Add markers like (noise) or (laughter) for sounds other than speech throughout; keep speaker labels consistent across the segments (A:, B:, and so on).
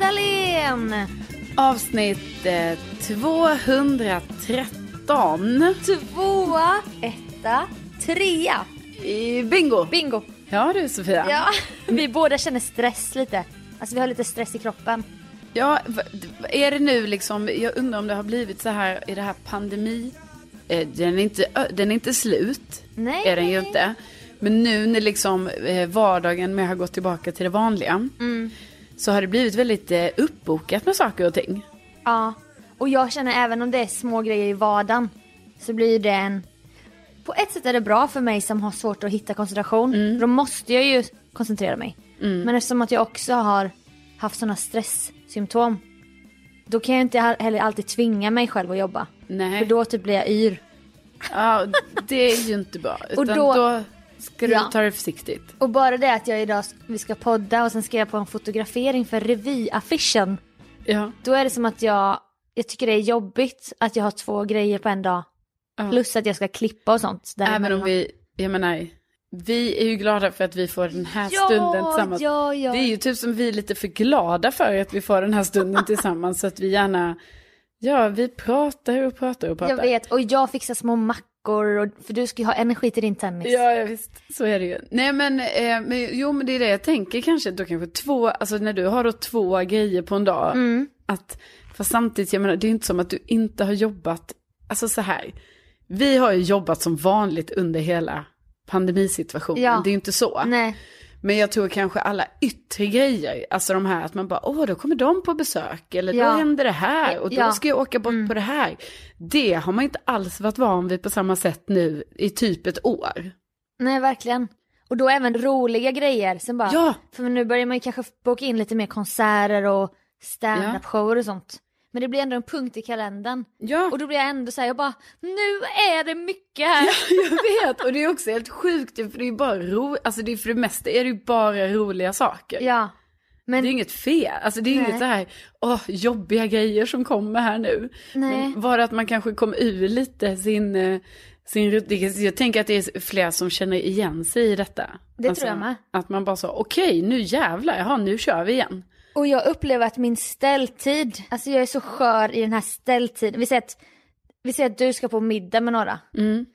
A: Dahlén.
B: Avsnitt eh, 213.
A: Tvåa, etta, trea.
B: I bingo!
A: Bingo.
B: Ja du Sofia. Ja.
A: Ja, vi båda känner stress lite. Alltså vi har lite stress i kroppen.
B: va- d- va- är det nu liksom, jag undrar om det har blivit så här i det här pandemi. Eh, den, är inte, ö, den är inte slut.
A: Nej.
B: Är den ju inte. Men nu när liksom eh, vardagen med har gått tillbaka till det vanliga.
A: Mm.
B: Så har det blivit väldigt eh, uppbokat med saker och ting.
A: Ja. Och jag känner även om det är små grejer i vardagen så blir det en... På ett sätt är det bra för mig som har svårt att hitta koncentration. För då måste jag ju koncentrera mig. Men eftersom att jag också har haft sådana stresssymptom då kan jag inte heller alltid tvinga mig själv att jobba.
B: Nej.
A: För då typ blir jag yr.
B: Ja, det är ju
A: (laughs)
B: inte bra. Utan och
A: då-
B: då, ska du
A: Ja.
B: ta det försiktigt.
A: Och bara det att jag idag, vi ska podda och sen ska jag på en fotografering för revyaffischen.
B: Ja.
A: Då är det som att jag, jag tycker det är jobbigt att jag har två grejer på en dag.
B: Ja.
A: Plus att jag ska klippa och sånt.
B: Även om
A: däremellan.
B: vi, jag menar, vi är ju glada för att vi får den här
A: Ja,
B: stunden tillsammans.
A: ja, ja.
B: Det är ju typ som vi är lite för glada för att vi får den här
A: (laughs)
B: stunden tillsammans. Så att vi gärna, ja vi pratar och pratar och pratar.
A: Jag vet, och jag fixar små mackor, och, för du ska ju ha energi till din tennis.
B: Ja, ja, visst. Så är det ju. Nej, men, eh, men jo, men det är det jag tänker kanske. Då kanske två, alltså när du har då två grejer på en dag.
A: Mm.
B: Att, för samtidigt, jag menar, det är ju inte som att du inte har jobbat, alltså så här. Vi har ju jobbat som vanligt under hela pandemisituationen.
A: Ja.
B: Det är ju inte så.
A: Nej,
B: Men jag tror kanske alla yttre grejer, alltså de här att man bara, åh då kommer de på besök, eller
A: Ja. Eh,
B: då händer det här, och då
A: Ja. Mm.
B: ska jag åka bort på det här. Det har man inte alls varit van vid på samma sätt nu i typ ett år.
A: nej verkligen. Och då även roliga grejer. Sen bara,
B: Ja.
A: För nu börjar man ju kanske boka in lite mer konserter och standup-shower och sånt. Men det blir ändå en punkt i kalendern.
B: Ja,
A: Och då blir jag ändå såhär, jag bara, nu är det mycket här.
B: (laughs) jag vet. Och det är också helt sjukt, för det är ju bara ro, alltså det är för det mesta är det ju bara roliga saker.
A: Ja. Men
B: Det är inget fel, alltså det är
A: Nej.
B: inget så här, åh, jobbiga grejer som kommer här nu.
A: Nej.
B: Men bara att man kanske kom ur lite sin, eh, sin rutin. Jag tänker att det är flera som känner igen sig i detta. Alltså,
A: Det tror jag med.
B: Att man bara sa, okej nu jävlar, jaha nu kör vi igen.
A: Och jag upplever att min ställtid, alltså jag är så skör i den här ställtiden. Vi säger att, vi säger att du ska på middag med några.
B: Mm.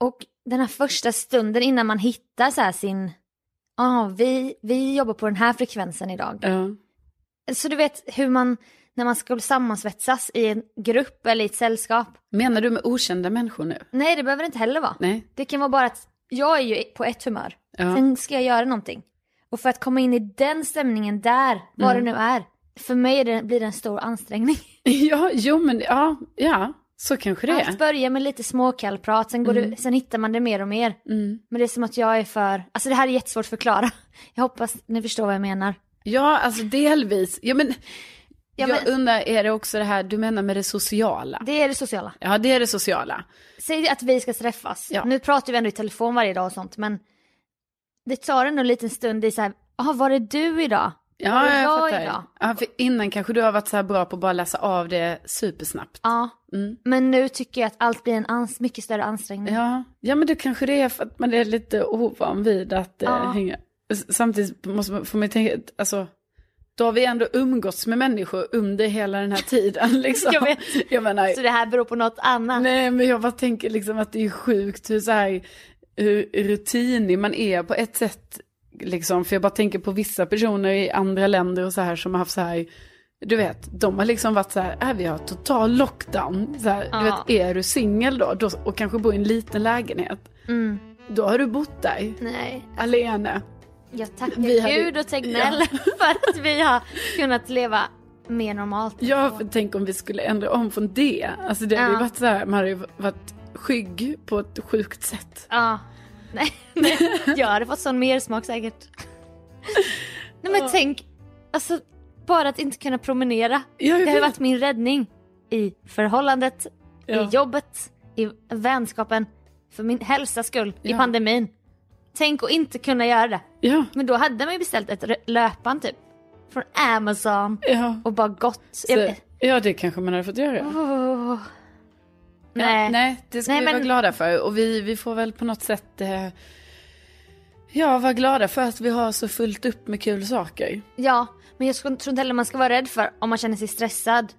A: Och den här första stunden innan man hittar så här sin, ja vi, vi jobbar på den här frekvensen idag.
B: Ja.
A: Så du vet hur man, när man ska sammansvetsas i en grupp eller i ett sällskap.
B: Menar du med okända människor nu?
A: Nej det behöver det inte heller vara.
B: Nej. (laughs)
A: Det kan vara bara att jag är ju på ett humör.
B: Ja.
A: Sen ska jag göra någonting. Och för att komma in i den stämningen där, vad det nu är, för mig är det, blir det en stor ansträngning.
B: Ja, jo men ja, ja, så kanske det Mm. är.
A: Allt börjar med lite småkallprat, sen, går det, sen hittar man det mer och mer.
B: Mm.
A: Men det är som att jag är för, alltså det här är jättesvårt att förklara. (laughs) Jag hoppas ni förstår vad jag menar.
B: Ja, alltså delvis. Ja, men,
A: Ja,
B: jag
A: men,
B: undrar, är det också det här du menar med det sociala?
A: det är det sociala.
B: Ja, det är det sociala.
A: Säg att vi ska träffas.
B: Ja.
A: Nu pratar vi ändå i telefon varje dag och sånt men det tar ändå en liten stund i så här, jaha var är du idag? Var
B: Ja,
A: är
B: jag
A: jag idag?
B: fattar. Ja, för innan kanske du har varit så här bra på att bara läsa av det supersnabbt. Mm.
A: Ja. Men nu tycker jag att allt blir en ans- mycket större ansträngning.
B: Ja, ja men det kanske det är för att man är lite ovan vid att eh,
A: Ja.
B: hänga. S- Samtidigt måste man, får man ju tänka, alltså, då har vi ändå umgåtts med människor under hela den här tiden. (laughs) Liksom.
A: Jag vet.
B: Jag menar,
A: Så det här beror på något annat.
B: nej men jag bara tänker liksom att det är sjukt hur så här, hur rutinig man är på ett sätt. Liksom, för jag bara tänker på vissa personer i andra länder och så här som har haft så här, du vet, de har liksom varit så här, äh, vi har total lockdown. Så här, Du
A: Ja.
B: vet, är du singel då, då och kanske bor i en liten lägenhet.
A: Mm.
B: Då har du bott där,
A: Nej,
B: alene.
A: jag tackar
B: Vi hade-
A: Gud och Tegnell (laughs) för att vi har kunnat leva mer normalt.
B: Ja, för tänk om vi skulle ändra om från det. Alltså det hade ju
A: Ja.
B: varit så här, man hade ju varit skygg på ett sjukt sätt.
A: Ja. Nej, (laughs) nej. Jag hade fått sån mersmak säkert. Nej men tänk, alltså bara att inte kunna promenera.
B: Ja, jag
A: Det har ju
B: vet.
A: varit min räddning i förhållandet,
B: Ja.
A: i jobbet, i vänskapen, för min hälsas skull, i
B: Ja.
A: pandemin. Tänk att inte kunna göra det.
B: Ja,
A: Men då hade man ju beställt ett rö- löpband typ, från Amazon
B: ja.
A: och bara gått.
B: Så,
A: Jag-
B: ja, det kanske man hade fått göra.
A: Åh.
B: Ja,
A: Nej.
B: nej, det ska
A: Nej,
B: vi
A: men-
B: vara glada för. Och vi, vi får väl på något sätt eh, ja, vara glada för att vi har så fullt upp med kul saker.
A: Ja, men jag tror inte heller man ska vara rädd för om man känner sig stressad.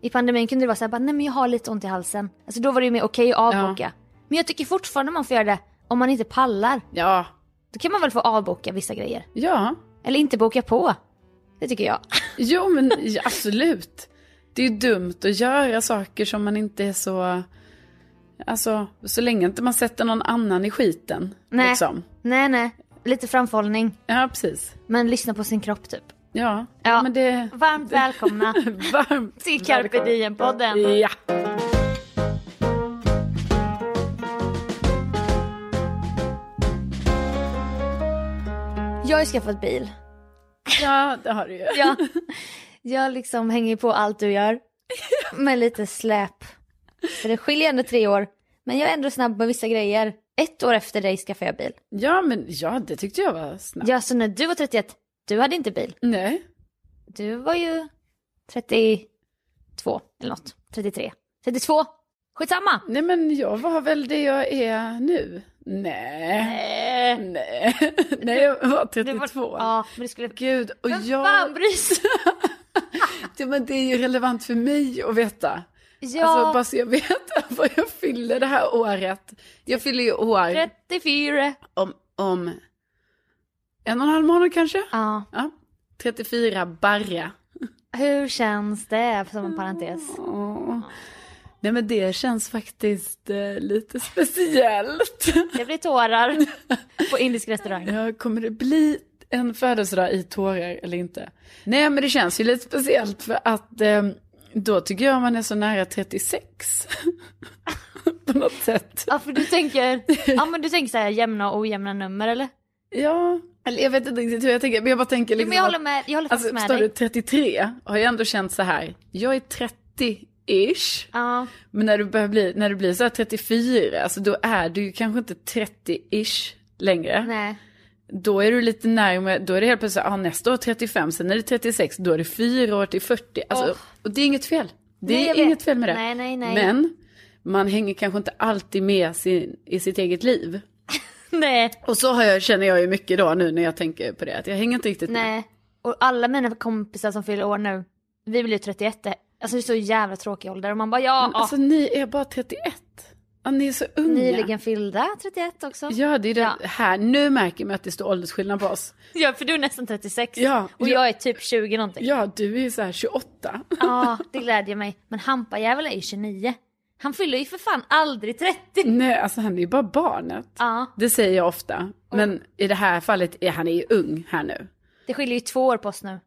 A: I pandemin kunde det vara så här, bara, nej men jag har lite ont i halsen. Alltså då var det ju mer okej att avboka. Men jag tycker fortfarande man får göra det om man inte pallar.
B: Ja,
A: Då kan man väl få avboka vissa grejer.
B: ja.
A: Eller inte boka på. Det tycker jag. (laughs)
B: Jo, men ja, (laughs) absolut. Det är ju dumt att göra saker som man inte är så... Alltså, så länge inte man sätter någon annan i skiten.
A: Nej.
B: Liksom.
A: Nej, nej. Lite framförhållning.
B: Ja, precis.
A: Men lyssna på sin kropp typ.
B: Ja,
A: Ja.
B: men det...
A: Varmt välkomna
B: Varmt
A: till Carpe
B: välkommen.
A: Diem-podden.
B: Ja.
A: Jag har ju skaffat bil.
B: ja, det har du ju.
A: Ja. (laughs) Jag liksom hänger på allt du gör. Med lite släp. För det skiljer ändå tre år. Men jag är ändå snabb med vissa grejer. Ett år efter dig skaffade jag bil.
B: Ja, men ja, det tyckte jag var snabbt.
A: Ja, så när du var 31, du hade inte bil.
B: Nej.
A: Du var ju 32 eller något. 33. 32! Skitsamma!
B: Nej, men jag var väl det jag är nu. Nej. Nej, (laughs) Nej jag var 32.
A: Ja, men det skulle...
B: Gud, och
A: Vem
B: jag...
A: fan bryr sig?
B: (laughs) Ja, men det är ju relevant för mig att veta.
A: Ja,
B: Alltså bara så jag vet (laughs) vad jag fyller det här året. Jag fyller ju år
A: 34.
B: om, om en och en halv månad kanske.
A: Ja,
B: Ja. 34 barre.
A: hur känns det? Som en parentes.
B: Åh. Nej men det känns faktiskt eh, lite speciellt.
A: Det blir tårar
B: (laughs)
A: på indisk restaurang.
B: Ja, kommer det bli en födelsedag i tårar eller inte? Nej men det känns ju lite speciellt för att eh, då tycker jag man är så nära 36. (laughs) På något sätt.
A: Ja för du tänker, ja men du tänker såhär jämna och ojämna nummer eller?
B: Ja, eller jag vet inte riktigt hur jag tänker, men jag bara tänker
A: Jo,
B: liksom...
A: men jag håller med, jag håller
B: alltså,
A: faktiskt med
B: förstår
A: dig.
B: du, 33 har jag ändå känt så här, jag är 30-ish.
A: Ja,
B: Men när du, börjar bli, när du blir så här 34, alltså då är du ju kanske inte 30-ish längre.
A: nej.
B: Då är du lite närmare, då är det helt plötsligt, ah, nästa år 35, sen är det 36, då är det 4 år till 40. Alltså,
A: Åh.
B: Och det är inget fel. Det
A: Nej, jag
B: är
A: vet.
B: inget fel med det.
A: Nej, nej, nej.
B: Men man hänger kanske inte alltid med sin, i sitt eget liv.
A: Nej,
B: Och så har jag, känner jag ju mycket då nu när jag tänker på det, att jag hänger inte riktigt med.
A: nej. Och alla mina kompisar som fyller år nu, vi blir ju 31. Alltså det är så jävla tråkig ålder och man bara ja,
B: Men Alltså ni är bara 31. Ja, ni är så
A: ja.
B: unga.
A: nyligen fyllda 31 också.
B: Ja, det är det
A: Ja.
B: här. Nu märker man att det står åldersskillnad på oss.
A: Ja, för du är nästan 36
B: Ja,
A: och
B: ja.
A: jag är typ 20 någonting.
B: Ja, du är ju så här 28.
A: Ja, det glädjer mig. Men Hampa jävel är ju 29. Han fyller ju för fan aldrig 30.
B: (laughs) Nej, alltså han är ju bara barnet.
A: Ja,
B: Det säger jag ofta. Men i det här fallet är han är ju ung här nu.
A: det skiljer ju två år på oss
B: (laughs)
A: nu.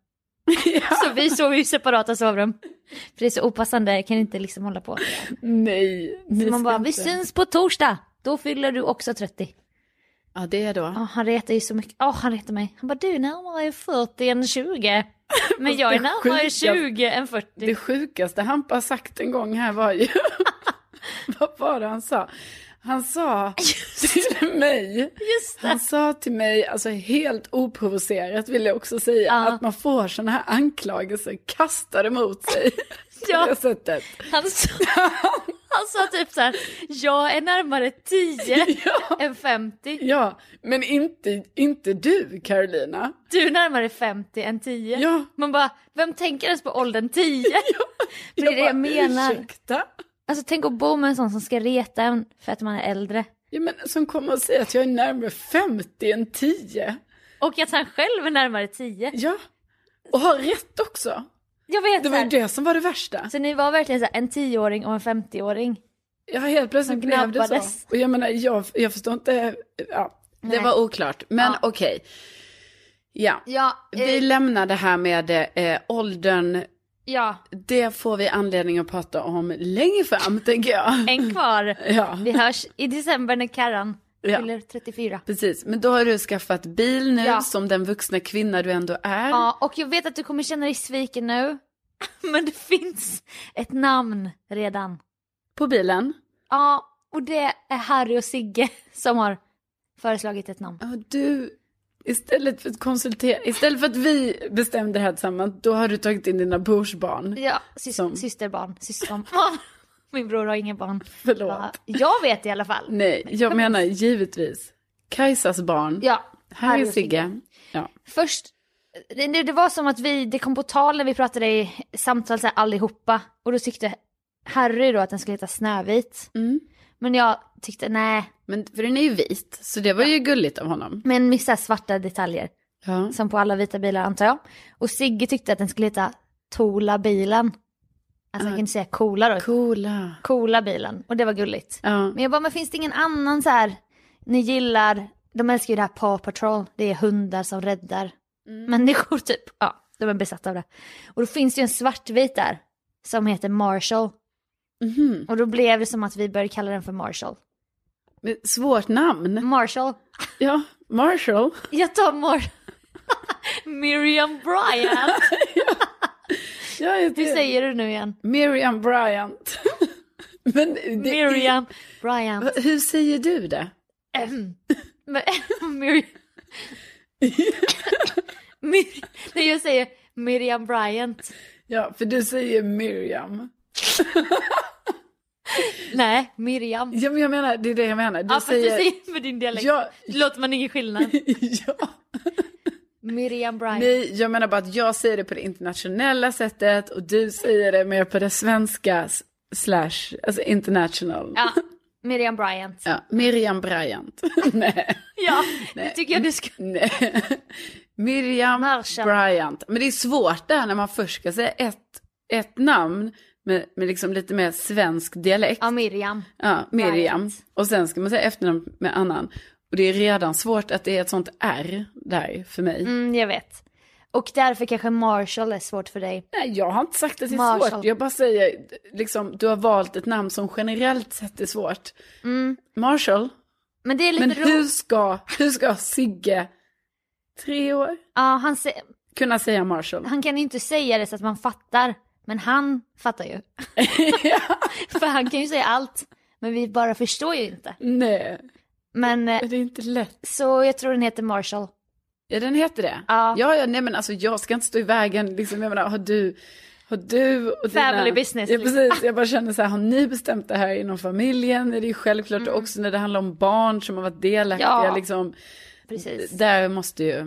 A: Så vi sov ju i separata sovrum. För det är så opassande, kan inte liksom hålla på.
B: Nej, ni
A: Så man
B: ska
A: bara,
B: inte.
A: vi syns på torsdag! Då fyller du också 30.
B: Ja, det är då.
A: Ja, han retar ju så mycket. Ja, han retar mig. Han bara, du är närmare 40 än 20.
B: (laughs)
A: Men jag är närmare
B: sjukaste-
A: 20 än 40.
B: Det sjukaste han har sagt en gång här var
A: (laughs)
B: ju... Vad var det han sa? Han sa till mig,
A: Just det.
B: han sa till mig, alltså helt oprovocerat vill jag också säga,
A: Ja.
B: att man får sådana här anklagelser kastade mot sig.
A: Ja.
B: (laughs) På det
A: (laughs)
B: sättet.
A: Han sa, han sa typ så här, jag är närmare 10
B: (laughs) Ja.
A: än 50.
B: Ja, men inte, inte du Carolina.
A: Du är närmare 50 än 10.
B: Ja.
A: Man bara, vem tänker ens på åldern
B: (laughs)
A: 10? För det är det jag menar.
B: Ursäkta?
A: Alltså tänk att bo med en sån som ska reta en för att man är äldre.
B: Ja, men som kommer att säga att jag är närmare 50 än 10.
A: Och att han själv är närmare 10.
B: Ja, och har rätt också.
A: Jag vet
B: Det
A: så
B: var ju
A: här.
B: det som var det värsta.
A: Så ni var verkligen så här, en 10-åring och en 50-åring.
B: Ja, helt plötsligt
A: Man
B: blev det
A: gnabbades.
B: så. Och jag menar, jag, jag förstår inte. Ja, det
A: Nej.
B: var oklart, men
A: Ja.
B: okej. Ja.
A: Ja,
B: vi
A: eh,
B: lämnar det här med eh, åldern.
A: Ja,
B: Det får vi anledning att prata om längre fram, tänker jag.
A: en kvar.
B: Ja.
A: Vi hörs i december när Karan
B: Ja.
A: fyller 34.
B: Precis, men då har du skaffat bil nu
A: Ja.
B: som den vuxna kvinna du ändå är.
A: Ja, och jag vet att du kommer känna dig sviken nu. (laughs) Men det finns ett namn redan.
B: På bilen.
A: Ja, och det är Harry och Sigge som har föreslagit ett namn.
B: Ja, du, istället för att konsultera, istället för att vi bestämde det här tillsammans, då har du tagit in dina brorsbarn.
A: Ja, sys-
B: Som-
A: systerbarn,
B: (laughs)
A: syskonbarn. Min bror har inga barn.
B: Förlåt.
A: Ja, Jag vet i alla fall.
B: Nej, jag menar givetvis Kajsas barn.
A: Ja,
B: Här är Sigge. Ja.
A: Först, det, det var som att vi, det kom på tal när vi pratade i samtal så här, allihopa. Och då tyckte Harry då att den skulle heta Snövit. Men jag tyckte nej,
B: Men, för den är ju vit, så det var ju gulligt av honom.
A: men missa svarta detaljer.
B: Ja.
A: Som på alla vita bilar antar jag. Och Sigge tyckte att den skulle heta Tola bilen. Alltså han kunde säga coola då.
B: Coola.
A: Coola bilen. Och det var gulligt.
B: Ja.
A: Men jag bara, men finns det ingen annan så här, ni gillar, de älskar ju det här Paw Patrol, det är hundar som räddar
B: Mm.
A: människor (laughs) typ. Ja, de är besatta av det. Och då finns det ju en svartvit där som heter Marshall.
B: Mhm.
A: Och då blev det som att vi började kalla den för Marshall.
B: Men Svårt namn.
A: Marshall.
B: Ja, Marshall.
A: Jag tar Mar... (laughs) Miriam
B: (laughs)
A: Bryant.
B: Ja, jag
A: Hur säger du nu igen?
B: Miriam Bryant. (laughs) Men det är-
A: Miriam Bryant.
B: Hur säger du det?
A: Men- (laughs) Mir... Mir... Nej, jag säger Miriam Bryant.
B: Ja, för du säger Miriam.
A: Nej, Miriam.
B: Ja, men jag menar, det är det jag menar. Du
A: Ja, för att du
B: säger...
A: säger med din dialekt.
B: Ja.
A: Det låter man ingen skillnad.
B: (laughs) ja.
A: Miriam Bryant.
B: Nej, jag menar bara att jag säger det på det internationella sättet och du säger det mer på det svenska s- slash, alltså international.
A: Ja, Miriam Bryant.
B: Ja, Miriam Bryant. (laughs) Nej,
A: Ja, det tycker jag du ska...
B: nej. Miriam
A: Marsha.
B: Bryant. Men det är svårt det här när man först ska säga ett, ett namn med, med liksom lite mer svensk dialekt.
A: Ja, Miriam.
B: Ja, Miriam.
A: Bryant.
B: Och sen ska man säga efternamn med annan. Och det är redan svårt att det är ett sånt R där för mig.
A: Mm, jag vet. Och därför kanske Marshall är svårt för dig.
B: Nej, jag har inte sagt att det är
A: Marshall.
B: svårt. Jag bara säger, liksom, du har valt ett namn som generellt sett är svårt. Marshall,
A: Men Mm. det är lite
B: men hur
A: roligt.
B: ska, hur ska Sigge, tre år,
A: Ja, han, sä-
B: kunna säga Marshall?
A: han kan ju inte säga det så att man fattar. Men han fattar
B: (laughs)
A: ju. (laughs) för han kan ju säga allt. Men vi bara förstår ju inte.
B: Nej,
A: Men eh,
B: det är inte lätt.
A: så jag tror den heter Marshall.
B: Ja, den heter det.
A: Ja.
B: ja, ja, nej men alltså jag ska inte stå i vägen, liksom, jag menar, har du, har du och dina...
A: Family business,
B: Ja,
A: liksom.
B: precis. Jag bara känner så här, har ni bestämt det här inom familjen? Det är ju självklart också när det handlar om barn som har varit delaktiga,
A: Mm. Ja.
B: liksom.
A: Precis.
B: Där måste ju...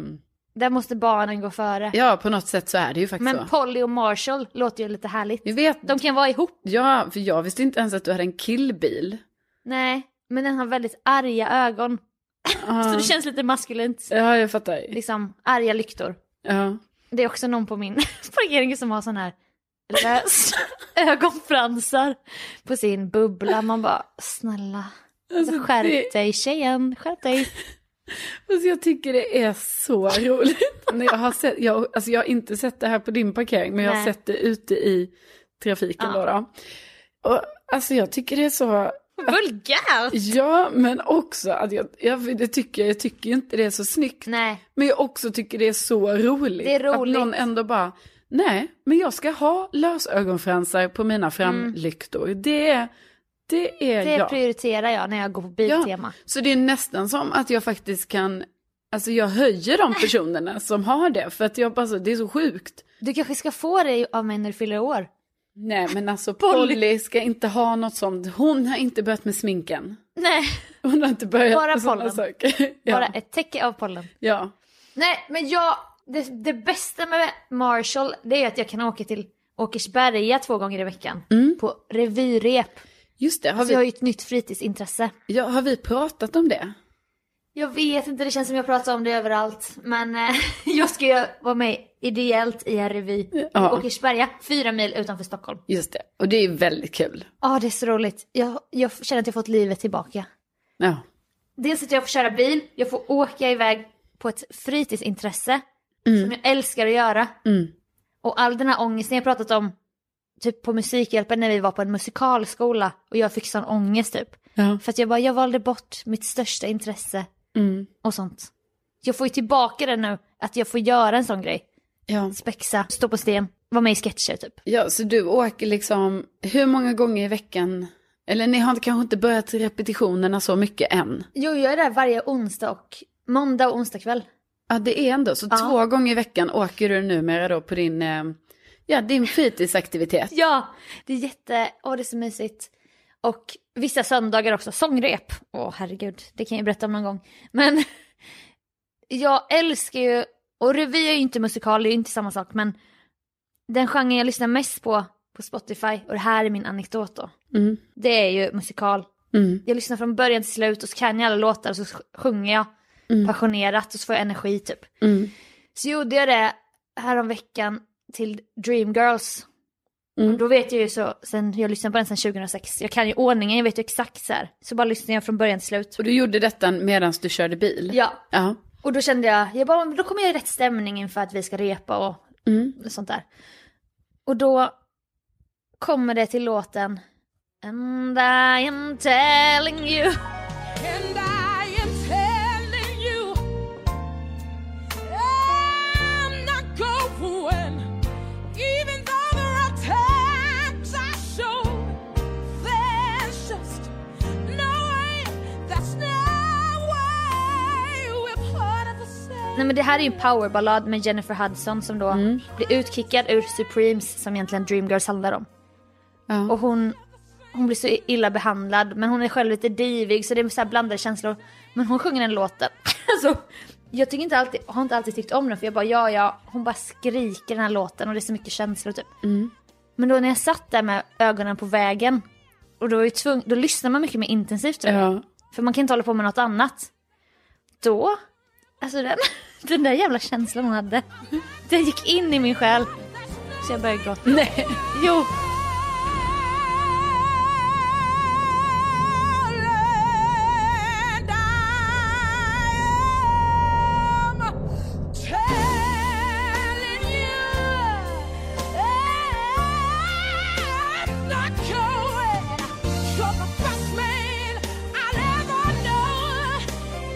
A: Där måste barnen gå före.
B: Ja, på något sätt så är det ju faktiskt
A: Men
B: så.
A: Polly och Marshall låter ju lite härligt.
B: Jag vet,
A: De kan vara ihop.
B: ja, för jag visste inte ens att du hade en killbil.
A: Nej, men den har väldigt arga ögon. Så Liksom. det känns lite maskulint.
B: Ja, jag fattar.
A: Liksom arga lyktor.
B: Ja.
A: (laughs) Det är också någon på min parkering som har sån här
B: (laughs)
A: läs ögonfransar på sin bubbla. Man bara, snälla,
B: Alltså,
A: skärp
B: det-
A: dig tjejen, skärp dig.
B: Alltså jag tycker det är så (laughs) roligt. När jag, har sett, jag, alltså jag har inte sett det här på din parkering, men jag har
A: Nej.
B: sett det ute i trafiken. Då, då. Och, alltså jag tycker det är så...
A: (laughs) Vulgärt!
B: Ja, men också att jag, jag, det tycker, jag tycker ju inte det är så snyggt.
A: Nej,
B: Men jag också tycker det är så roligt.
A: Det är roligt.
B: Att någon ändå bara, nej, men jag ska ha lösögonfransar på mina framlyktor. Det, är- det är
A: det
B: jag.
A: prioriterar jag när jag går på Biltema.
B: Så det är nästan som att jag faktiskt kan, alltså jag höjer de personerna som har det. För att jag bara, så, det är så sjukt.
A: Du kanske ska få det av mig när du fyller år.
B: Nej men alltså Polly. ska inte ha något sånt. Hon har inte börjat med sminken.
A: Nej,
B: Hon har inte börjat
A: Bara
B: med sådana
A: pollen.
B: saker. Ja.
A: bara ett täcke av pollen.
B: ja.
A: Nej, men jag, det, det bästa med Marshall det är att jag kan åka till Åkersberga två gånger i veckan på revyrep.
B: Just det, Mm.
A: Så
B: har,
A: Alltså, jag har
B: vi,
A: ju ett nytt fritidsintresse.
B: ja, har vi pratat om det?
A: Jag vet inte, det känns som jag pratar om det överallt. Men eh, (laughs) jag ska ju vara med ideellt i en revy i
B: Ja.
A: Åkersberga, fyra mil utanför Stockholm.
B: Just det, och det är väldigt kul.
A: Ja, det är så roligt. Jag, jag känner att jag fått livet tillbaka.
B: Ja.
A: Dels att jag får köra bil, jag får åka iväg på ett fritidsintresse som jag älskar att göra.
B: Mm.
A: Och all den här ångesten jag pratat om, typ på Musikhjälpen när vi var på en musikalskola och jag fick sån ångest typ.
B: Ja.
A: För att jag bara, jag valde bort mitt största intresse
B: Mm.
A: och sånt. Jag får ju tillbaka det nu, att jag får göra en sån grej.
B: Ja.
A: Spexa, stå på sten, vara med i sketcher typ.
B: ja, så du åker liksom hur många gånger i veckan? Eller ni har inte- kanske inte börjat repetitionerna så mycket än?
A: Jo, jag är där varje onsdag och måndag och onsdag kväll.
B: Ja, det är ändå så.
A: Ja.
B: Två gånger i veckan åker du numera då på din, eh, ja, din fritidsaktivitet.
A: Ja, det är jätte, åh det är så mysigt. Och vissa söndagar också, sångrep. Åh herregud, det kan jag berätta om någon gång. Men (laughs) jag älskar ju, och revy är ju inte musikal, det är ju inte samma sak, men den genren jag lyssnar mest på på Spotify, och det här är min anekdot då,
B: Mm.
A: det är ju musikal.
B: Mm.
A: Jag lyssnar från början till slut och så kan jag alla låtar och så sjunger jag passionerat och så får jag energi typ.
B: Mm.
A: Så gjorde jag det häromveckan till Dreamgirls.
B: Mm.
A: Och då vet jag ju så, sen, jag lyssnade på den sedan 2006, jag kan ju ordningen, jag vet ju exakt så här. Så bara lyssnar jag från början till slut.
B: Och du gjorde detta medan du körde bil?
A: Ja,
B: Ja.
A: och då kände jag, jag bara, men då kommer jag i rätt stämning inför att vi ska repa och
B: Mm.
A: sånt där. Och då kommer det till låten And I am telling you
C: And I am telling you, I'm not going. Even though there are times I show, there's just no way. That's no way. We're part of the same.
A: Nej men det här är ju en powerballad med Jennifer Hudson som då
B: Mm.
A: blir utkickad ur Supremes som egentligen Dreamgirls handlar om.
B: Ja.
A: Och hon, hon blir så illa behandlad men hon är själv lite divig så det är så här blandade känslor. Men hon sjunger den låten. (laughs) alltså, jag tycker inte alltid, har inte alltid tyckt om den för jag bara ja ja, hon bara skriker den här låten och det är så mycket känslor typ. Men då när jag satt där med ögonen på vägen och då, är jag tvung, då lyssnar man mycket mer intensivt tror jag.
B: ja.
A: För man kan inte hålla på med något annat. Då, alltså den, (laughs) den där jävla känslan hon hade. Den gick in i min själ. Så jag började gråta. Nej. Jo.
C: And I am telling you, I'm not going. You're the best man I'll ever know.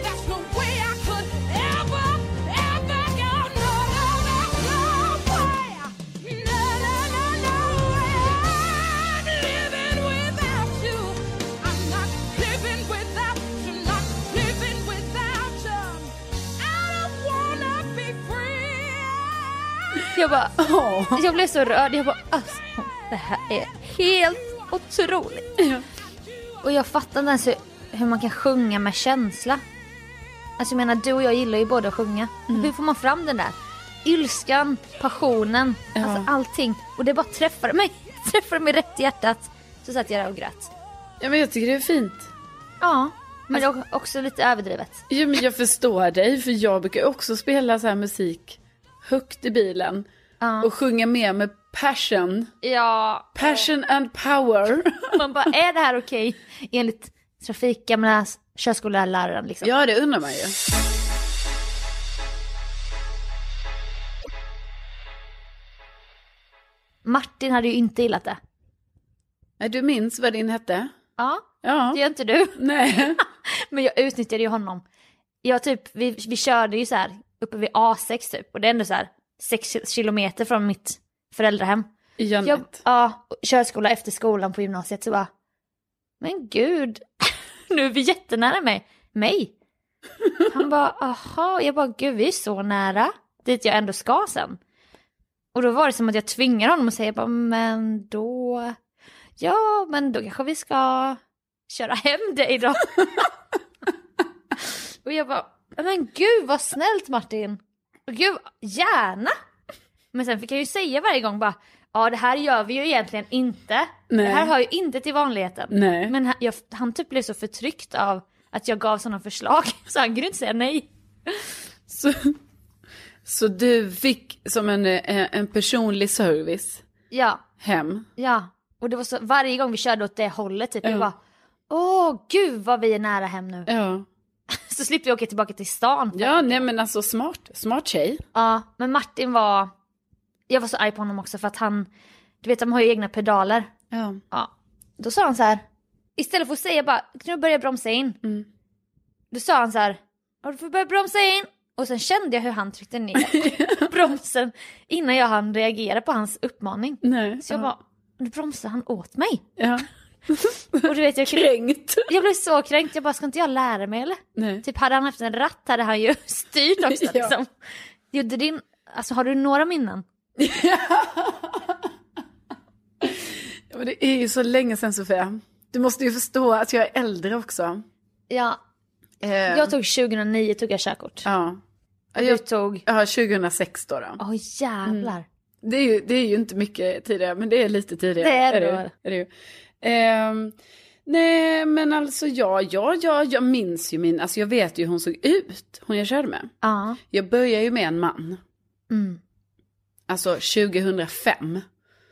C: That's no way I could ever, ever go. No, no, no, no way. No, no, no, no way. I'm living without you. I'm not living without you. Not living without you. I don't wanna be free.
A: Jag bara,
B: Åh.
A: jag blev så rörd. Jag bara, alltså, det här är helt otroligt. Och jag fattar inte ens hur, hur man kan sjunga med känsla. Alltså jag menar, du och jag gillar ju båda att sjunga. Hur får man fram den där? Ilskan, passionen, alltså allting. Och det bara träffade mig, (laughs) träffade mig rätt i hjärtat. Så satt jag där och grät.
B: ja, men jag tycker det är fint.
A: Ja, men det var också lite överdrivet.
B: Jo, men jag förstår dig, för jag brukar också spela så här musik högt i bilen. och sjunga med med passion.
A: Ja,
B: Passion and power.
A: man bara är det här okej enligt trafik, gamla körskolläraren liksom.
B: ja, det undrar man ju.
A: Martin hade ju inte gillat det.
B: Nej, Du minns vad din hette?
A: Ja,
B: Ja.
A: det gör inte du. (laughs)
B: Nej.
A: Men jag utnyttjade ju honom. Jag typ, vi, vi körde ju så här uppe vid A6 typ och det är ändå så här 6 kilometer från mitt föräldrahem.
B: I
A: Jag,
B: Jönnet.
A: ja, och körskola efter skolan på gymnasiet så bara, men gud, (laughs) nu är vi jättenära mig. Mig? Han bara, aha, jag bara, gud vi är så nära dit jag ändå ska sen. Och då var det som att jag tvingade honom att säga, bara, men då, ja men då kanske vi ska köra hem dig
B: (laughs)
A: då. Och jag bara, men gud vad snällt Martin. Och gud, gärna. Men sen fick jag ju säga varje gång bara, ja det här gör vi ju egentligen inte.
B: Nej.
A: Det här hör ju inte till vanligheten.
B: Nej.
A: Men han, jag, han typ blev så förtryckt av att jag gav sådana förslag (laughs) så han kunde inte säga nej.
B: Så, så du fick som en, eh, en personlig service
A: Ja,
B: hem.
A: ja. Och det var så, varje gång vi körde åt det hållet typ,
B: Ja.
A: jag bara, åh gud vad vi är nära hem nu.
B: Ja.
A: Så slipper vi åka tillbaka till stan.
B: Ja, nej men alltså smart, smart tjej.
A: Ja, men Martin var... Jag var så arg på honom också för att han... Du vet, de har ju egna pedaler.
B: Ja.
A: Ja. Då sa han så här... Istället för att säga bara, nu börjar jag bromsa in.
B: Mm.
A: Då sa han så här, "Ja, du får börja bromsa in. Och sen kände jag hur han tryckte ner
B: (laughs)
A: bromsen innan jag hann reagera på hans uppmaning.
B: Nej.
A: Så jag bara, nu bromsar han åt
B: (laughs)
A: mig.
B: Ja.
A: Och du vet, jag,
B: Kränkt.
A: jag blev så kränkt, jag bara, ska inte jag lära mig eller?
B: Nej.
A: Typ hade han haft en ratt hade han ju (laughs) styrt också
B: (laughs) Ja.
A: liksom. Gjorde din, alltså har du några minnen?
B: Ja, men det är ju så länge sedan Sofia. Du måste ju förstå att jag är äldre också.
A: Ja,
B: Eh,
A: jag tog 2009 tog jag körkort.
B: Ja. Ja,
A: Och
B: Jag, Mm.
A: du tog,
B: ja, 2006 då. då.
A: åh jävlar.
B: Det, är ju, det är ju inte mycket tidigare, men det är lite tidigare.
A: Det är det
B: ju,
A: väl.
B: är det ju. Ehm, nej, men alltså ja, ja, ja, jag minns ju min, alltså jag vet ju hur hon såg ut, hon jag körde med.
A: Ja.
B: Jag började ju med en man,
A: Mm.
B: alltså 2005.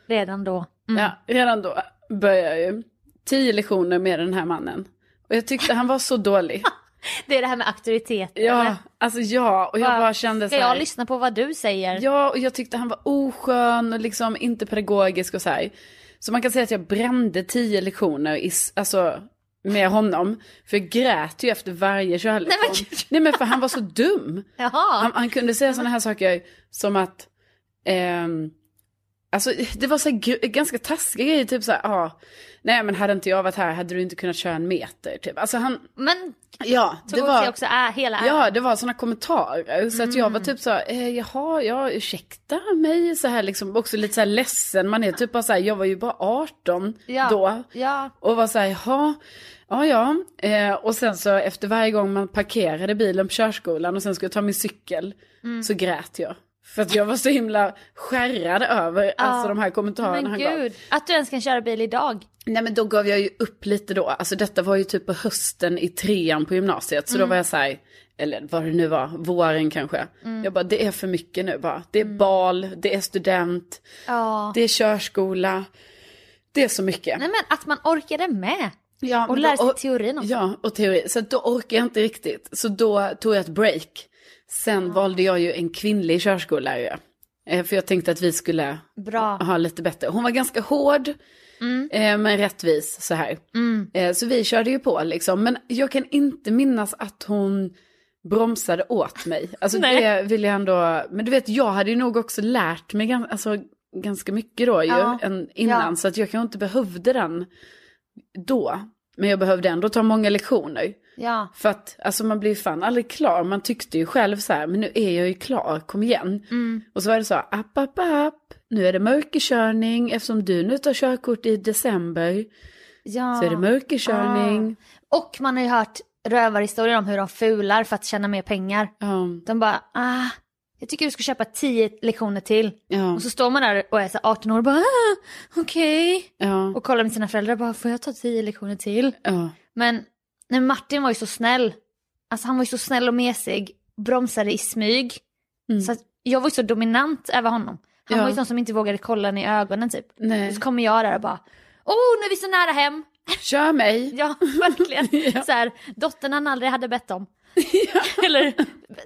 A: Redan då. Mm.
B: Ja, redan då började jag ju. Tio lektioner med den här mannen. Och jag tyckte han var
A: (laughs)
B: så dålig.
A: Det är det här med auktoritet.
B: Ja,
A: eller?
B: alltså ja, och jag
A: Bara,
B: bara kände så
A: Ska
B: här.
A: jag lyssna på vad du säger?
B: Ja, och jag tyckte han var oskön och liksom inte pedagogisk och så här. Så man kan säga att jag brände tio lektioner i, s- alltså, med honom. För jag grät ju efter varje körlektion.
A: Nej, men gud.
B: Nej men för han var så dum.
A: Jaha.
B: Han, han kunde säga sådana här saker som att, ehm, alltså det var så här, gr- ganska taskiga grejer, typ så här, ja, ah, nej men hade inte jag varit här hade du inte kunnat köra en meter, typ. Alltså han,
A: Men
B: ja,
A: tog
B: det
A: åt
B: var...
A: sig också är, hela äran.
B: Ja, det var sådana kommentarer. Så att jag
A: Mm.
B: var typ så här, eh, jaha, ja, ursäkta mig, så här liksom, också lite så här ledsen. Man är typ bara så här, jag var ju bara 18
A: Ja.
B: då.
A: Ja.
B: Och var så här, jaha, ja ja. Eh, och sen så efter varje gång man parkerade bilen på körskolan och sen skulle jag ta min cykel,
A: Mm.
B: så grät jag. För att jag var så himla skärrad över alltså, de här kommentarerna
A: Men
B: han gav.
A: gud, att du ens kan köra bil idag.
B: Nej men då gav jag ju upp lite då. Alltså detta var ju typ på hösten i trean på gymnasiet. Så då var jag så här, eller vad det nu var, våren kanske. Jag bara, det är för mycket nu bara. Det är bal, det är student,
A: Ja.
B: det är körskola. Det är så mycket.
A: Nej men att man orkade med.
B: ja,
A: och
B: men
A: lära sig
B: och-
A: teorin också.
B: Ja, och teori. Så att då orkar jag inte riktigt. Så då tog jag ett break. Sen valde jag ju en kvinnlig körskollärare. Eh, För jag tänkte att vi skulle
A: Bra.
B: ha lite bättre. Hon var ganska hård,
A: Mm.
B: eh, men rättvis så här. Eh, så vi körde ju på liksom. Men jag kan inte minnas att hon bromsade åt mig. Alltså
A: (laughs) Nej.
B: det vill jag ändå, men du vet jag hade ju nog också lärt mig gan, alltså, ganska mycket då ju,
A: Ja.
B: än innan.
A: Ja.
B: Så att jag kanske inte behövde den då. Men jag behövde ändå ta många lektioner.
A: Ja.
B: För att alltså man blir ju fan aldrig klar. Man tyckte ju själv så här, men nu är jag ju klar, kom igen.
A: Mm.
B: Och så var det så, här, app, app, app, nu är det mörkerkörning eftersom du nu tar körkort i december.
A: ja.
B: Så är det mörkerkörning.
A: Och man har ju hört rövarhistorier om hur de fular för att tjäna mer pengar.
B: Ja,
A: De bara, ah, jag tycker du ska köpa tio lektioner till.
B: ja,
A: Och så står man där och är så 18 år och bara, ah, okej.
B: ja,
A: Och kollar med sina föräldrar bara, får jag ta tio lektioner till?
B: ja.
A: Men nej, Martin var ju så snäll. Alltså han var ju så snäll och mesig, bromsade i smyg. Så att jag var ju så dominant över honom. Han
B: Mm. Ja.
A: var ju sån som inte vågade kolla henne i ögonen typ.
B: Nej.
A: Och så kommer jag där och bara, oh nu är vi så nära hem.
B: Kör
A: (laughs)
B: mig.
A: Ja,
B: (laughs)
A: verkligen. Så här, dottern han aldrig hade bett om. (laughs) Eller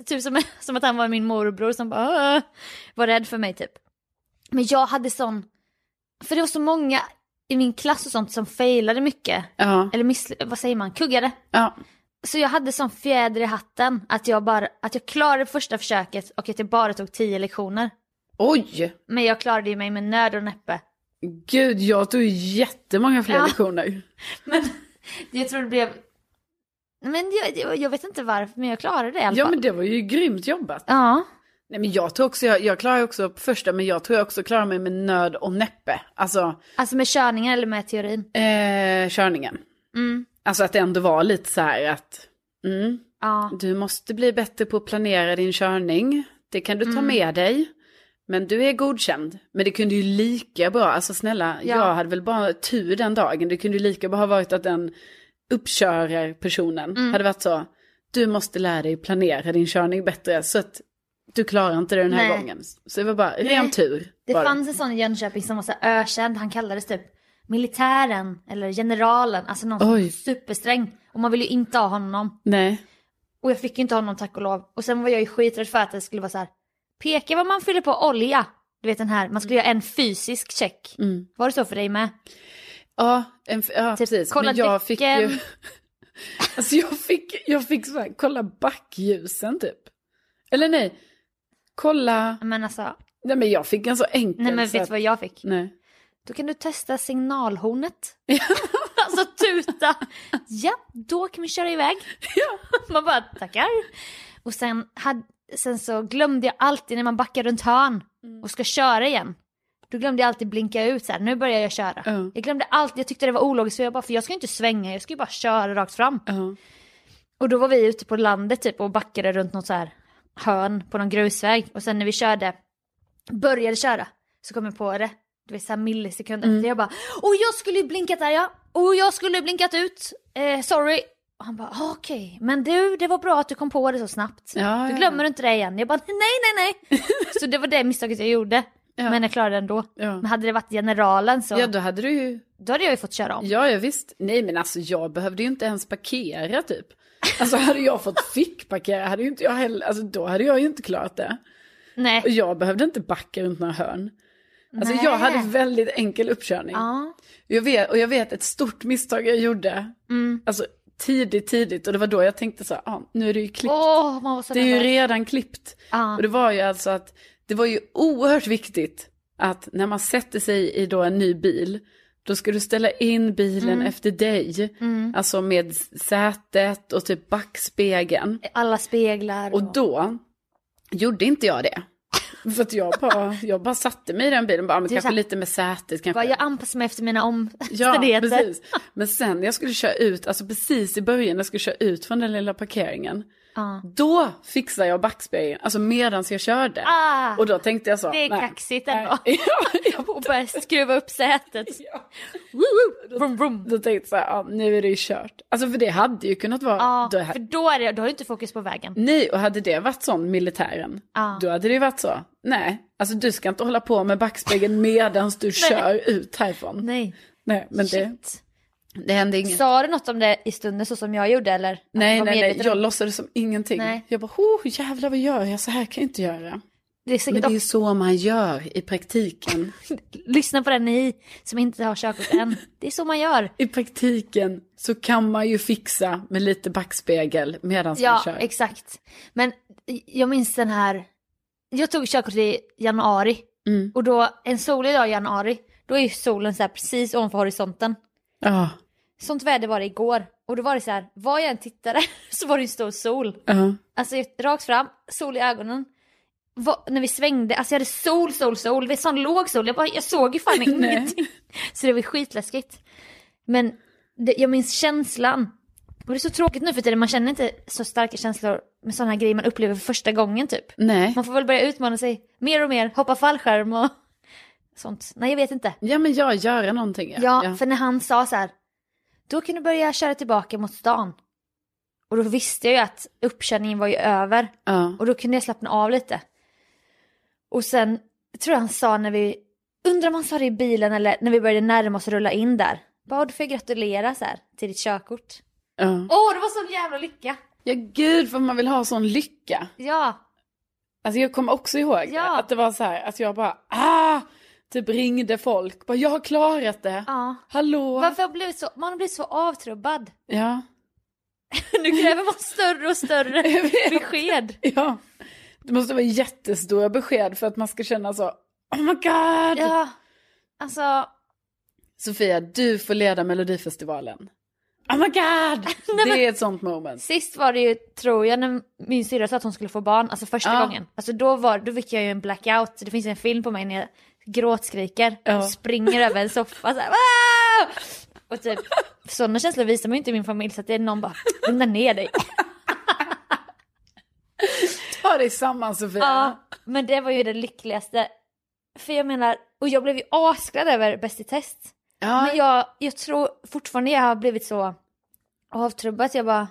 A: typ som, som att han var min morbror som bara "Åh", var rädd för mig typ. Men jag hade sån, för det var så många i min klass och sånt som failade mycket.
B: Ja.
A: Eller miss, vad säger man, kuggade.
B: ja.
A: Så jag hade sån fjäder i hatten att jag, bara, att jag klarade första försöket och att jag bara tog tio lektioner.
B: Oj.
A: Men jag klarade ju mig med nöd och näppe.
B: Gud, jag tog jättemånga fler
A: Ja.
B: lektioner.
A: Men (laughs) jag tror det blev... Men jag, jag, jag vet inte varför, men jag klarade det i alla
B: Ja,
A: fall.
B: men det var ju grymt jobbat.
A: Ja,
B: Nej, men jag tror också, jag, jag klarar ju också på första, men jag tror jag också klarar mig med nöd och näppe. Alltså,
A: alltså med körningen eller med teorin.
B: eh, körningen.
A: Mm.
B: Alltså att det ändå var lite så här att, mm,
A: Ja,
B: du måste bli bättre på att planera din körning. Det kan du ta
A: Mm.
B: med dig. Men du är godkänd. Men det kunde ju lika bra, alltså snälla,
A: Ja.
B: jag hade väl bara tur den dagen. Det kunde ju lika bra ha varit att den uppkörarpersonen
A: Mm.
B: hade varit så, du måste lära dig planera din körning bättre så att du klarar inte det den här
A: Nej.
B: gången. Så det var bara ren tur.
A: det
B: var
A: fanns en sån i Jönköping som var så här ökänd, han kallades typ militären eller generalen, alltså någon som
B: Oj.
A: var supersträng. Och man ville ju inte ha honom.
B: Nej.
A: Och jag fick ju inte ha honom tack och lov. Och sen var jag ju skiträdd för att det skulle vara så här, peka vad man fyller på olja. Du vet den här, man skulle göra en fysisk check. Var det så för dig med?
B: Ja, en, f- ja precis.
A: Typ kolla
B: Men jag fick ju...
A: däcken.
B: (laughs) alltså jag fick, jag fick så här, kolla backljusen typ. Eller nej, kolla...
A: Men alltså,
B: Nej men jag fick en så enkel.
A: nej men
B: så
A: vet du
B: att-
A: vad jag fick?
B: Nej.
A: Då kan du testa signalhornet. alltså tuta. Ja, då kan vi köra iväg. man bara tackar. Och sen, hade, sen så glömde jag alltid när man backar runt hörn och ska köra igen. Då glömde jag alltid blinka ut så här, nu börjar jag köra.
B: Ja.
A: Jag glömde alltid, jag tyckte det var ologiskt för jag bara, för jag ska ju inte svänga, jag ska ju bara köra rakt fram.
B: Ja.
A: Och då var vi ute på landet typ och backade runt något så här hörn på någon grusväg. Och sen när vi körde, började köra, så kom jag på det. Du vet såhär millisekunder
B: Mm.
A: efter. Jag bara, och jag skulle ju blinkat där ja. Och jag skulle ju blinkat ut. Eh, sorry. Och han bara, "Ah, okej. Men du, det var bra att du kom på det så snabbt.
B: Ja,
A: du
B: ja,
A: glömmer inte det igen. Jag bara, nej, nej, nej.
B: (laughs)
A: så det var det misstaget jag gjorde. Men jag klarade det ändå.
B: Ja.
A: Men hade det varit generalen så,
B: ja då hade du ju,
A: då hade jag ju fått köra om.
B: ja jag visst. Nej men alltså jag behövde ju inte ens parkera typ. Alltså hade
A: (laughs)
B: jag fått fickparkera hade ju inte jag heller, alltså då hade jag ju inte klarat det. Och
A: Nej.
B: jag behövde inte backa runt några hörn. Alltså
A: Nej.
B: jag hade väldigt enkel uppkörning.
A: Ja.
B: Jag vet, och jag vet ett stort misstag jag gjorde.
A: Mm.
B: Alltså tidigt, tidigt. Och det var då jag tänkte så här, ah, nu är det ju klippt.
A: Åh, Ah. man var så
B: det är ju
A: nervös.
B: redan klippt.
A: Ja.
B: Och det var ju alltså att, det var ju oerhört viktigt att när man sätter sig i då en ny bil, då ska du ställa in bilen
A: Mm.
B: efter dig. Alltså med sätet och typ backspegeln.
A: Alla speglar.
B: Och då gjorde inte jag det. För att jag bara, jag bara satte mig i den bilen, och bara, ah, men
A: Du är
B: kanske
A: så här-
B: lite med sätet kanske.
A: Bara, jag anpassar mig efter mina
B: Ja,
A: omständigheter.
B: precis. Men sen när jag skulle köra ut, alltså precis i början när jag skulle köra ut från den lilla parkeringen,
A: Ja.
B: då fixade jag backspegeln, alltså medans jag körde.
A: Ah,
B: och då tänkte jag så.
A: det är
B: nej,
A: kaxigt
B: nej.
A: ändå.
B: (laughs) Ja, jag
A: Och börjar skruva upp sätet.
B: (laughs) Ja.
A: Woo, woo, Vroom, vroom.
B: då tänkte jag så här, ja, nu är det ju kört. Alltså för det hade ju kunnat vara.
A: Ja,
B: då ha-
A: för då, är det, då har du inte fokus på vägen.
B: Nej, och hade det varit sån militären,
A: Ja.
B: då hade det ju varit så. Nej, alltså du ska inte hålla på med backspegeln (laughs) medans du kör ut härifrån. Nej,
A: Nej,
B: men det,
A: shit.
B: det hände inget.
A: Sa du något om det i stunden så som jag gjorde eller? Att
B: Nej,
A: du var
B: nej, nej,
A: medveten
B: jag
A: om-
B: låtsades som ingenting.
A: Nej.
B: Jag bara, oh, jävlar vad gör jag? Så här kan jag inte göra.
A: Det är
B: Men
A: säkert
B: det är ju
A: också-
B: så man gör i praktiken.
A: (laughs) Lyssna på den ni som inte har körkort
B: (laughs)
A: än. Det är så man gör.
B: I praktiken så kan man ju fixa med lite backspegel medan
A: Ja,
B: man kör.
A: exakt. Men jag minns den här, jag tog körkort i januari
B: Mm.
A: och då en solig dag i januari, då är ju solen så här precis ovanför horisonten.
B: Ja,
A: Sånt väder var det igår och då var det så här, var jag än tittade (laughs) så var det en stor sol.
B: ja.
A: Alltså rakt fram, sol i ögonen. Va, när vi svängde, alltså jag hade sol, sol, sol. Det är sån låg sol, jag, bara, jag såg ju fan ingenting. Så det var skitläskigt. Men det, jag minns känslan. Och det är så tråkigt nu för tiden, man känner inte så starka känslor med sådana här grejer man upplever för första gången typ.
B: Nej.
A: Man får väl börja utmana sig mer och mer, hoppa fallskärm och (laughs) sånt. Nej jag vet inte.
B: Ja, men jag gör någonting.
A: Ja, för när han sa så här, då kan du börja köra tillbaka mot stan. Och då visste jag ju att uppkörningen var ju över.
B: ja.
A: Och då kunde jag slappna av lite. Och sen tror jag han sa när vi, undrar om han sa det i bilen eller när vi började närma oss och rulla in där. Bara du får jag gratulera så här till ditt körkort.
B: Ja.
A: Åh, det var sån jävla lycka!
B: ja, gud vad man vill ha sån lycka.
A: Ja,
B: Alltså jag kommer också ihåg det,
A: Ja.
B: att det var så här att jag bara ah! Typ ringde folk, bara jag har klarat det.
A: ja.
B: Hallå!
A: Varför har jag blivit så, man har blivit så avtrubbad.
B: Ja.
A: (laughs) Nu kräver man större och större (laughs)
B: Jag vet.
A: besked.
B: ja. Det måste vara jättestora besked för att man ska känna så oh my god.
A: Ja, alltså,
B: Sofia, du får leda melodifestivalen. Oh
A: (laughs)
B: my god! det är ett sånt moment.
A: sist var det ju, tror jag, när min syrra sa att hon skulle få barn, alltså första
B: Ja.
A: gången. Alltså då, var, då fick jag ju en blackout, det finns en film på mig när jag gråtskriker
B: Ja.
A: och springer över en soffa så här, "Ah!" Och typ, sådana känslor visar man ju inte i min familj så att det är någon bara, lugna ner dig.
B: Ta dig samman Sofia.
A: Ja, (laughs) men det var ju det lyckligaste. För jag menar, och jag blev ju asglad över Bäst i test.
B: Ja.
A: Men jag, jag tror fortfarande jag har blivit så avtrubbad. Jag bara...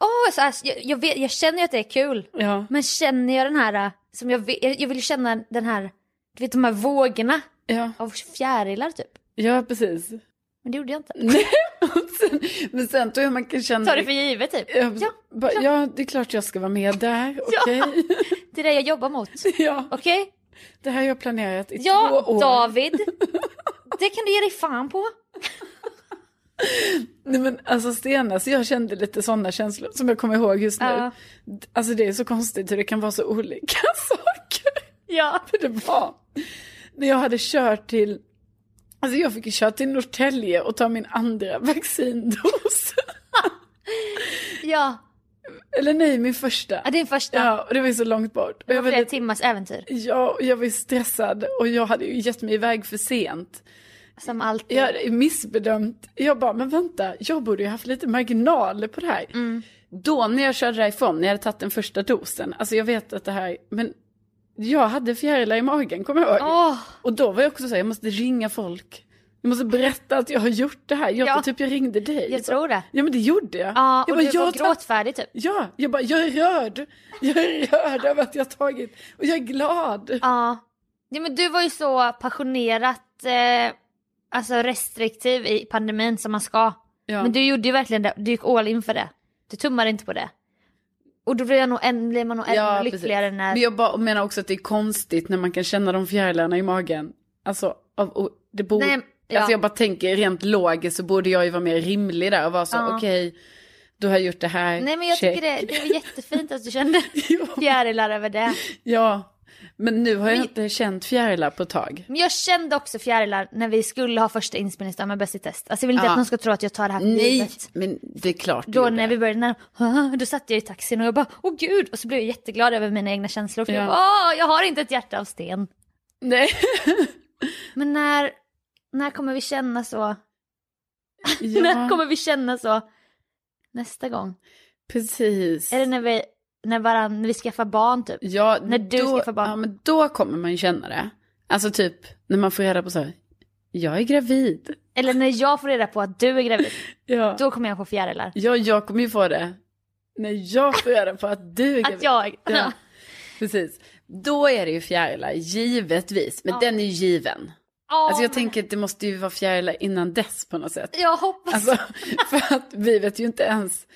A: Åh, så här, jag, jag, vet, jag känner ju att det är kul.
B: ja.
A: Men känner jag den här... äh, Som jag, vet- jag, jag vill ju känna den här... Du vet de här vågorna
B: Ja.
A: av fjärilar typ.
B: ja, precis. (laughs)
A: Men det gjorde jag inte.
B: Nej, och sen, men sen tror jag man kan känna...
A: Ta det för givet typ.
B: Ja,
A: Ja,
B: bara, ja, det är klart jag ska vara med där.
A: Ja.
B: Okej. (laughs)
A: det är det jag jobbar mot.
B: Ja.
A: Okej?
B: Det här har jag planerat i
A: Ja,
B: två år. (laughs)
A: David. Det kan du ge dig fan på.
B: Nej, men alltså senast jag kände lite sådana känslor som jag kommer ihåg just nu.
A: Ja.
B: Alltså det är så konstigt hur det kan vara så olika (laughs) saker.
A: Ja.
B: För det var när jag hade kört till, alltså jag fick ju köra till Norrtälje och ta min andra (laughs) vaccindos.
A: Ja,
B: Eller nej, min första.
A: Ja, din första.
B: Ja, och det var ju så långt bort. Och
A: det
B: jag
A: var
B: var
A: flera
B: lite,
A: timmars äventyr.
B: ja, och jag var ju stressad och jag hade ju gett mig iväg för sent.
A: Som alltid.
B: Jag hade missbedömt. Jag bara, men vänta, jag borde ju haft lite marginaler på det här.
A: Mm.
B: Då när jag körde därifrån, när jag hade tagit den första dosen, alltså jag vet att det här, men jag hade fjärilar i magen, kommer jag ihåg.
A: Åh.
B: Och då var jag också så här, jag måste ringa folk. Jag måste berätta att jag har gjort det här. Jag
A: Ja.
B: tror typ jag ringde dig.
A: Jag tror det.
B: Ja men det gjorde jag.
A: Ja,
B: jag
A: och du var
B: jag har tagit-
A: gråtfärdig typ.
B: Ja, jag bara, jag är rörd. Jag är rörd över att jag har tagit, och jag är glad.
A: Ja. ja men du var ju så passionerat eh, alltså restriktiv i pandemin som man ska.
B: Ja.
A: Men du gjorde ju verkligen det, du gick all in för det. Du tummade inte på det. Och då blir, jag nog än, blir man nog ännu lyckligare
B: precis.
A: när...
B: Men jag bara, menar också att det är konstigt när man kan känna de fjärilarna i magen. Alltså, av, och det borde...
A: Nej, ja.
B: Alltså jag bara tänker rent logiskt så borde jag ju vara mer rimlig där och vara så
A: Ja.
B: okej, du har gjort det här,
A: Nej men jag tycker
B: (laughs)
A: det, det var jättefint att du kände
B: Jo.
A: fjärilar över det.
B: Ja, men nu har jag
A: Men-
B: inte känt fjärilar på ett tag.
A: Men jag kände också fjärilar när vi skulle ha första inspelningsdagen med Bäst i test. Alltså jag vill inte
B: Ja.
A: att någon ska tro att jag tar det här för
B: Nej,
A: givet.
B: men det är klart du
A: Då
B: gjorde.
A: när vi började när, då satt jag i taxin och jag bara åh gud och så blev jag jätteglad över mina egna känslor för
B: Ja.
A: jag bara, åh jag har inte ett hjärta av sten.
B: Nej,
A: Men när, när kommer vi känna så? (laughs)
B: ja,
A: När kommer vi känna så? Nästa gång?
B: precis.
A: Är det när vi, när varann, när vi skaffar barn typ?
B: Ja,
A: När du
B: då,
A: skaffar barn.
B: Ja, men då kommer man ju känna det. Alltså typ när man får reda på så här, jag är gravid.
A: Eller när jag får reda på att du är gravid,
B: Ja.
A: då kommer jag få fjärilar.
B: Ja, jag kommer ju få det. När jag får reda på att du är
A: Att
B: gravid.
A: jag,
B: Ja, precis. Då är det ju fjärilar, givetvis. Men den är ju given.
A: Ja,
B: Alltså jag
A: men-
B: tänker att det måste ju vara fjärilar innan dess på något sätt.
A: jag hoppas.
B: Alltså, (laughs) för att vi vet ju inte ens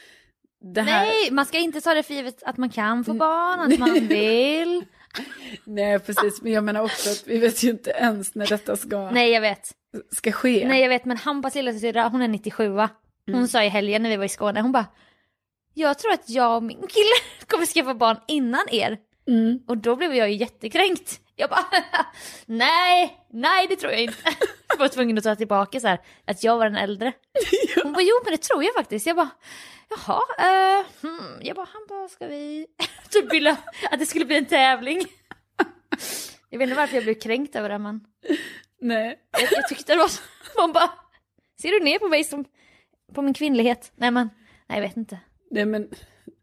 B: det här. Mm.
A: Nej, man ska inte ta det för givet att man kan få barn, att
B: (laughs)
A: man vill.
B: Nej, precis. Men jag menar också att vi vet ju inte ens när detta ska,
A: Nej, jag vet.
B: ska ske.
A: Nej jag vet men Hampas lillasyrra hon är 97 Hon
B: Mm.
A: sa i helgen när vi var i Skåne, hon bara Jag tror att jag och min kille (laughs) kommer skaffa barn innan er.
B: Mm.
A: Och då blev jag ju jättekränkt. Jag bara (laughs) nej, nej det tror jag inte. (laughs) Jag var tvungen att ta tillbaka så här, att jag var den äldre. (laughs) Hon bara jo men det tror jag faktiskt. Jag bara jaha, eh, hmm. jag bara han bara ska vi... (laughs) typ ville att det skulle bli en tävling. (laughs) Jag vet inte varför jag blev kränkt över det men
B: Nej.
A: jag, jag tyckte det var (laughs) så, man bara, ser du ner på mig som, på min kvinnlighet? Nej men, nej jag vet inte.
B: Nej, men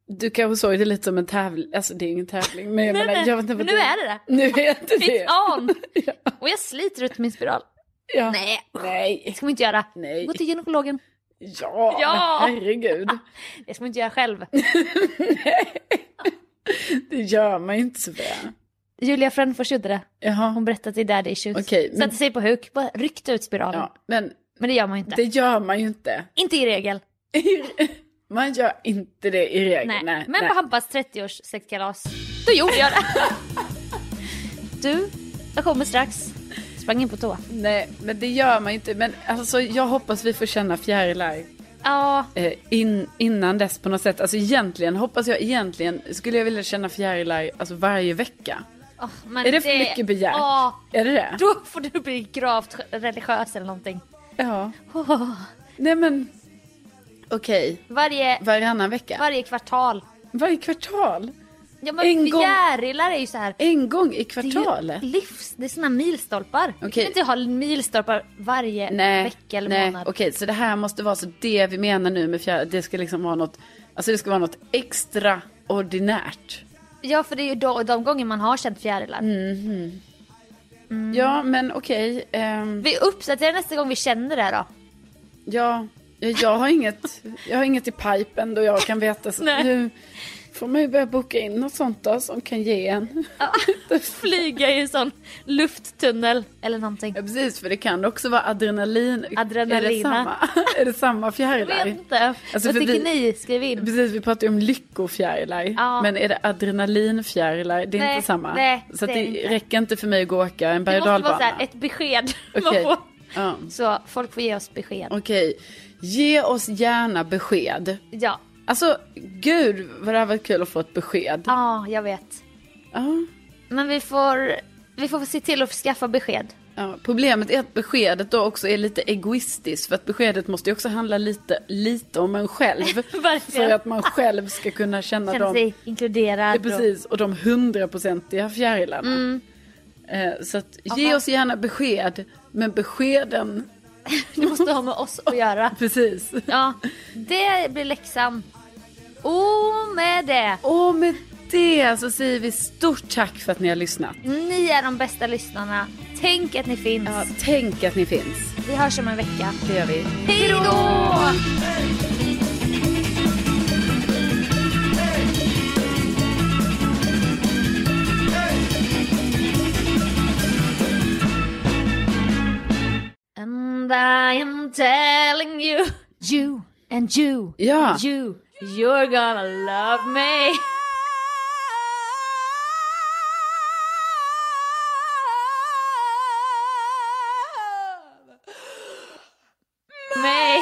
B: du kanske såg det lite som en tävling. Alltså det är ingen tävling. Men jag
A: Nej,
B: menar,
A: nej.
B: jag vet inte vad
A: Men nu är det det.
B: Nu är det det.
A: It's on!
B: (laughs) Ja.
A: Och jag sliter ut min spiral.
B: Ja.
A: Nej, det
B: Nej.
A: ska man inte göra.
B: Nej.
A: Gå till gynekologen.
B: Ja,
A: Ja.
B: men herregud.
A: Det ska man inte göra själv.
B: Det gör man ju inte så bra.
A: Julia Frändfors gjorde det.
B: Jaha.
A: Hon berättade att det är daddy issues.
B: Okej, men-
A: Satte sig på huk, bara ryckte ut spiralen.
B: Ja, men
A: Men det gör man ju inte.
B: det gör man ju inte. (laughs)
A: Inte i regel.
B: Man gör inte det i regel.
A: Nej.
B: Nej,
A: Men på Hampas 30-års släktkalas, då gjorde
B: (laughs)
A: jag det. du, jag kommer strax. Sprang in på toa.
B: Nej, men det gör man ju inte. Men alltså, jag hoppas vi får känna fjärilar
A: Ja,
B: eh, in, innan dess på något sätt. Alltså egentligen hoppas jag egentligen skulle jag vilja känna fjärilar alltså, varje vecka.
A: åh, men
B: Är det för mycket begärt?
A: Ja,
B: Är det det?
A: då får du bli gravt religiös eller någonting.
B: Ja. Nej men okej,
A: Varje,
B: varannan vecka.
A: varje kvartal.
B: varje kvartal.
A: Ja men
B: En gång-
A: fjärilar är ju så här.
B: En gång i
A: Det är
B: kvartalet.
A: ju livs, det är såna milstolpar. Vi
B: Okej.
A: kan inte ha milstolpar varje
B: Nej,
A: vecka eller
B: nej.
A: månad.
B: okej så det här måste vara så det vi menar nu med fjärilar, det ska liksom vara något, alltså det ska vara något extraordinärt.
A: Ja för det är ju då, de gånger man har känt fjärilar.
B: Mm.
A: Mm.
B: Ja men okej, ehm,
A: Vi uppdaterar nästa gång vi känner det här
B: (laughs)
A: då.
B: ja, jag- jag har inget, jag har inget i pipen då jag kan veta
A: (laughs)
B: så
A: Nej.
B: nu får man ju börja boka in något sånt då som kan ge en.
A: Ja, Flyga i en sån lufttunnel eller någonting.
B: Ja precis för det kan också vara adrenalin. Är det
A: Adrenalina.
B: samma, (laughs) är det samma fjärilar?
A: Jag vet inte.
B: Alltså,
A: Vad
B: för
A: tycker
B: vi-
A: ni? Skriv in.
B: Precis, vi pratade ju om lyckofjärilar.
A: Ja.
B: Men är det adrenalinfjärilar? Det är
A: Nej,
B: inte samma.
A: nej,
B: så att
A: det
B: det,
A: är det inte.
B: räcker inte för mig att gå och åka en berg
A: Det
B: och
A: måste vara så
B: dalbana.
A: här, ett besked (laughs) man
B: Okej.
A: får.
B: Ja.
A: Så folk får ge oss besked.
B: Okej, ge oss gärna besked.
A: Ja,
B: Alltså, gud vad det här var kul att få ett besked.
A: ja jag vet.
B: Ja.
A: Men vi får, vi får se till att skaffa besked.
B: Ja, problemet är att beskedet då också är lite egoistiskt för att beskedet måste ju också handla lite, lite om en
A: (laughs)
B: själv.
A: Verkligen.
B: för att man själv ska kunna känna
A: Känna
B: dem.
A: sig inkluderad.
B: Ja, Mm. precis, och de hundraprocentiga fjärilarna. Eh, så att, ge oss gärna besked, men beskeden,
A: Och, det måste ha med oss att göra.
B: (laughs) precis.
A: Ja, det blir läxan. Och med det.
B: Och med det så säger vi stort tack för att ni har lyssnat.
A: Ni är de bästa lyssnarna. Tänk att ni finns.
B: Ja, tänk att ni finns,
A: Vi hörs om en vecka.
B: det gör vi.
A: Hej då! And I am telling you, you and you,
B: Ja.
A: and you, you're gonna love me. me.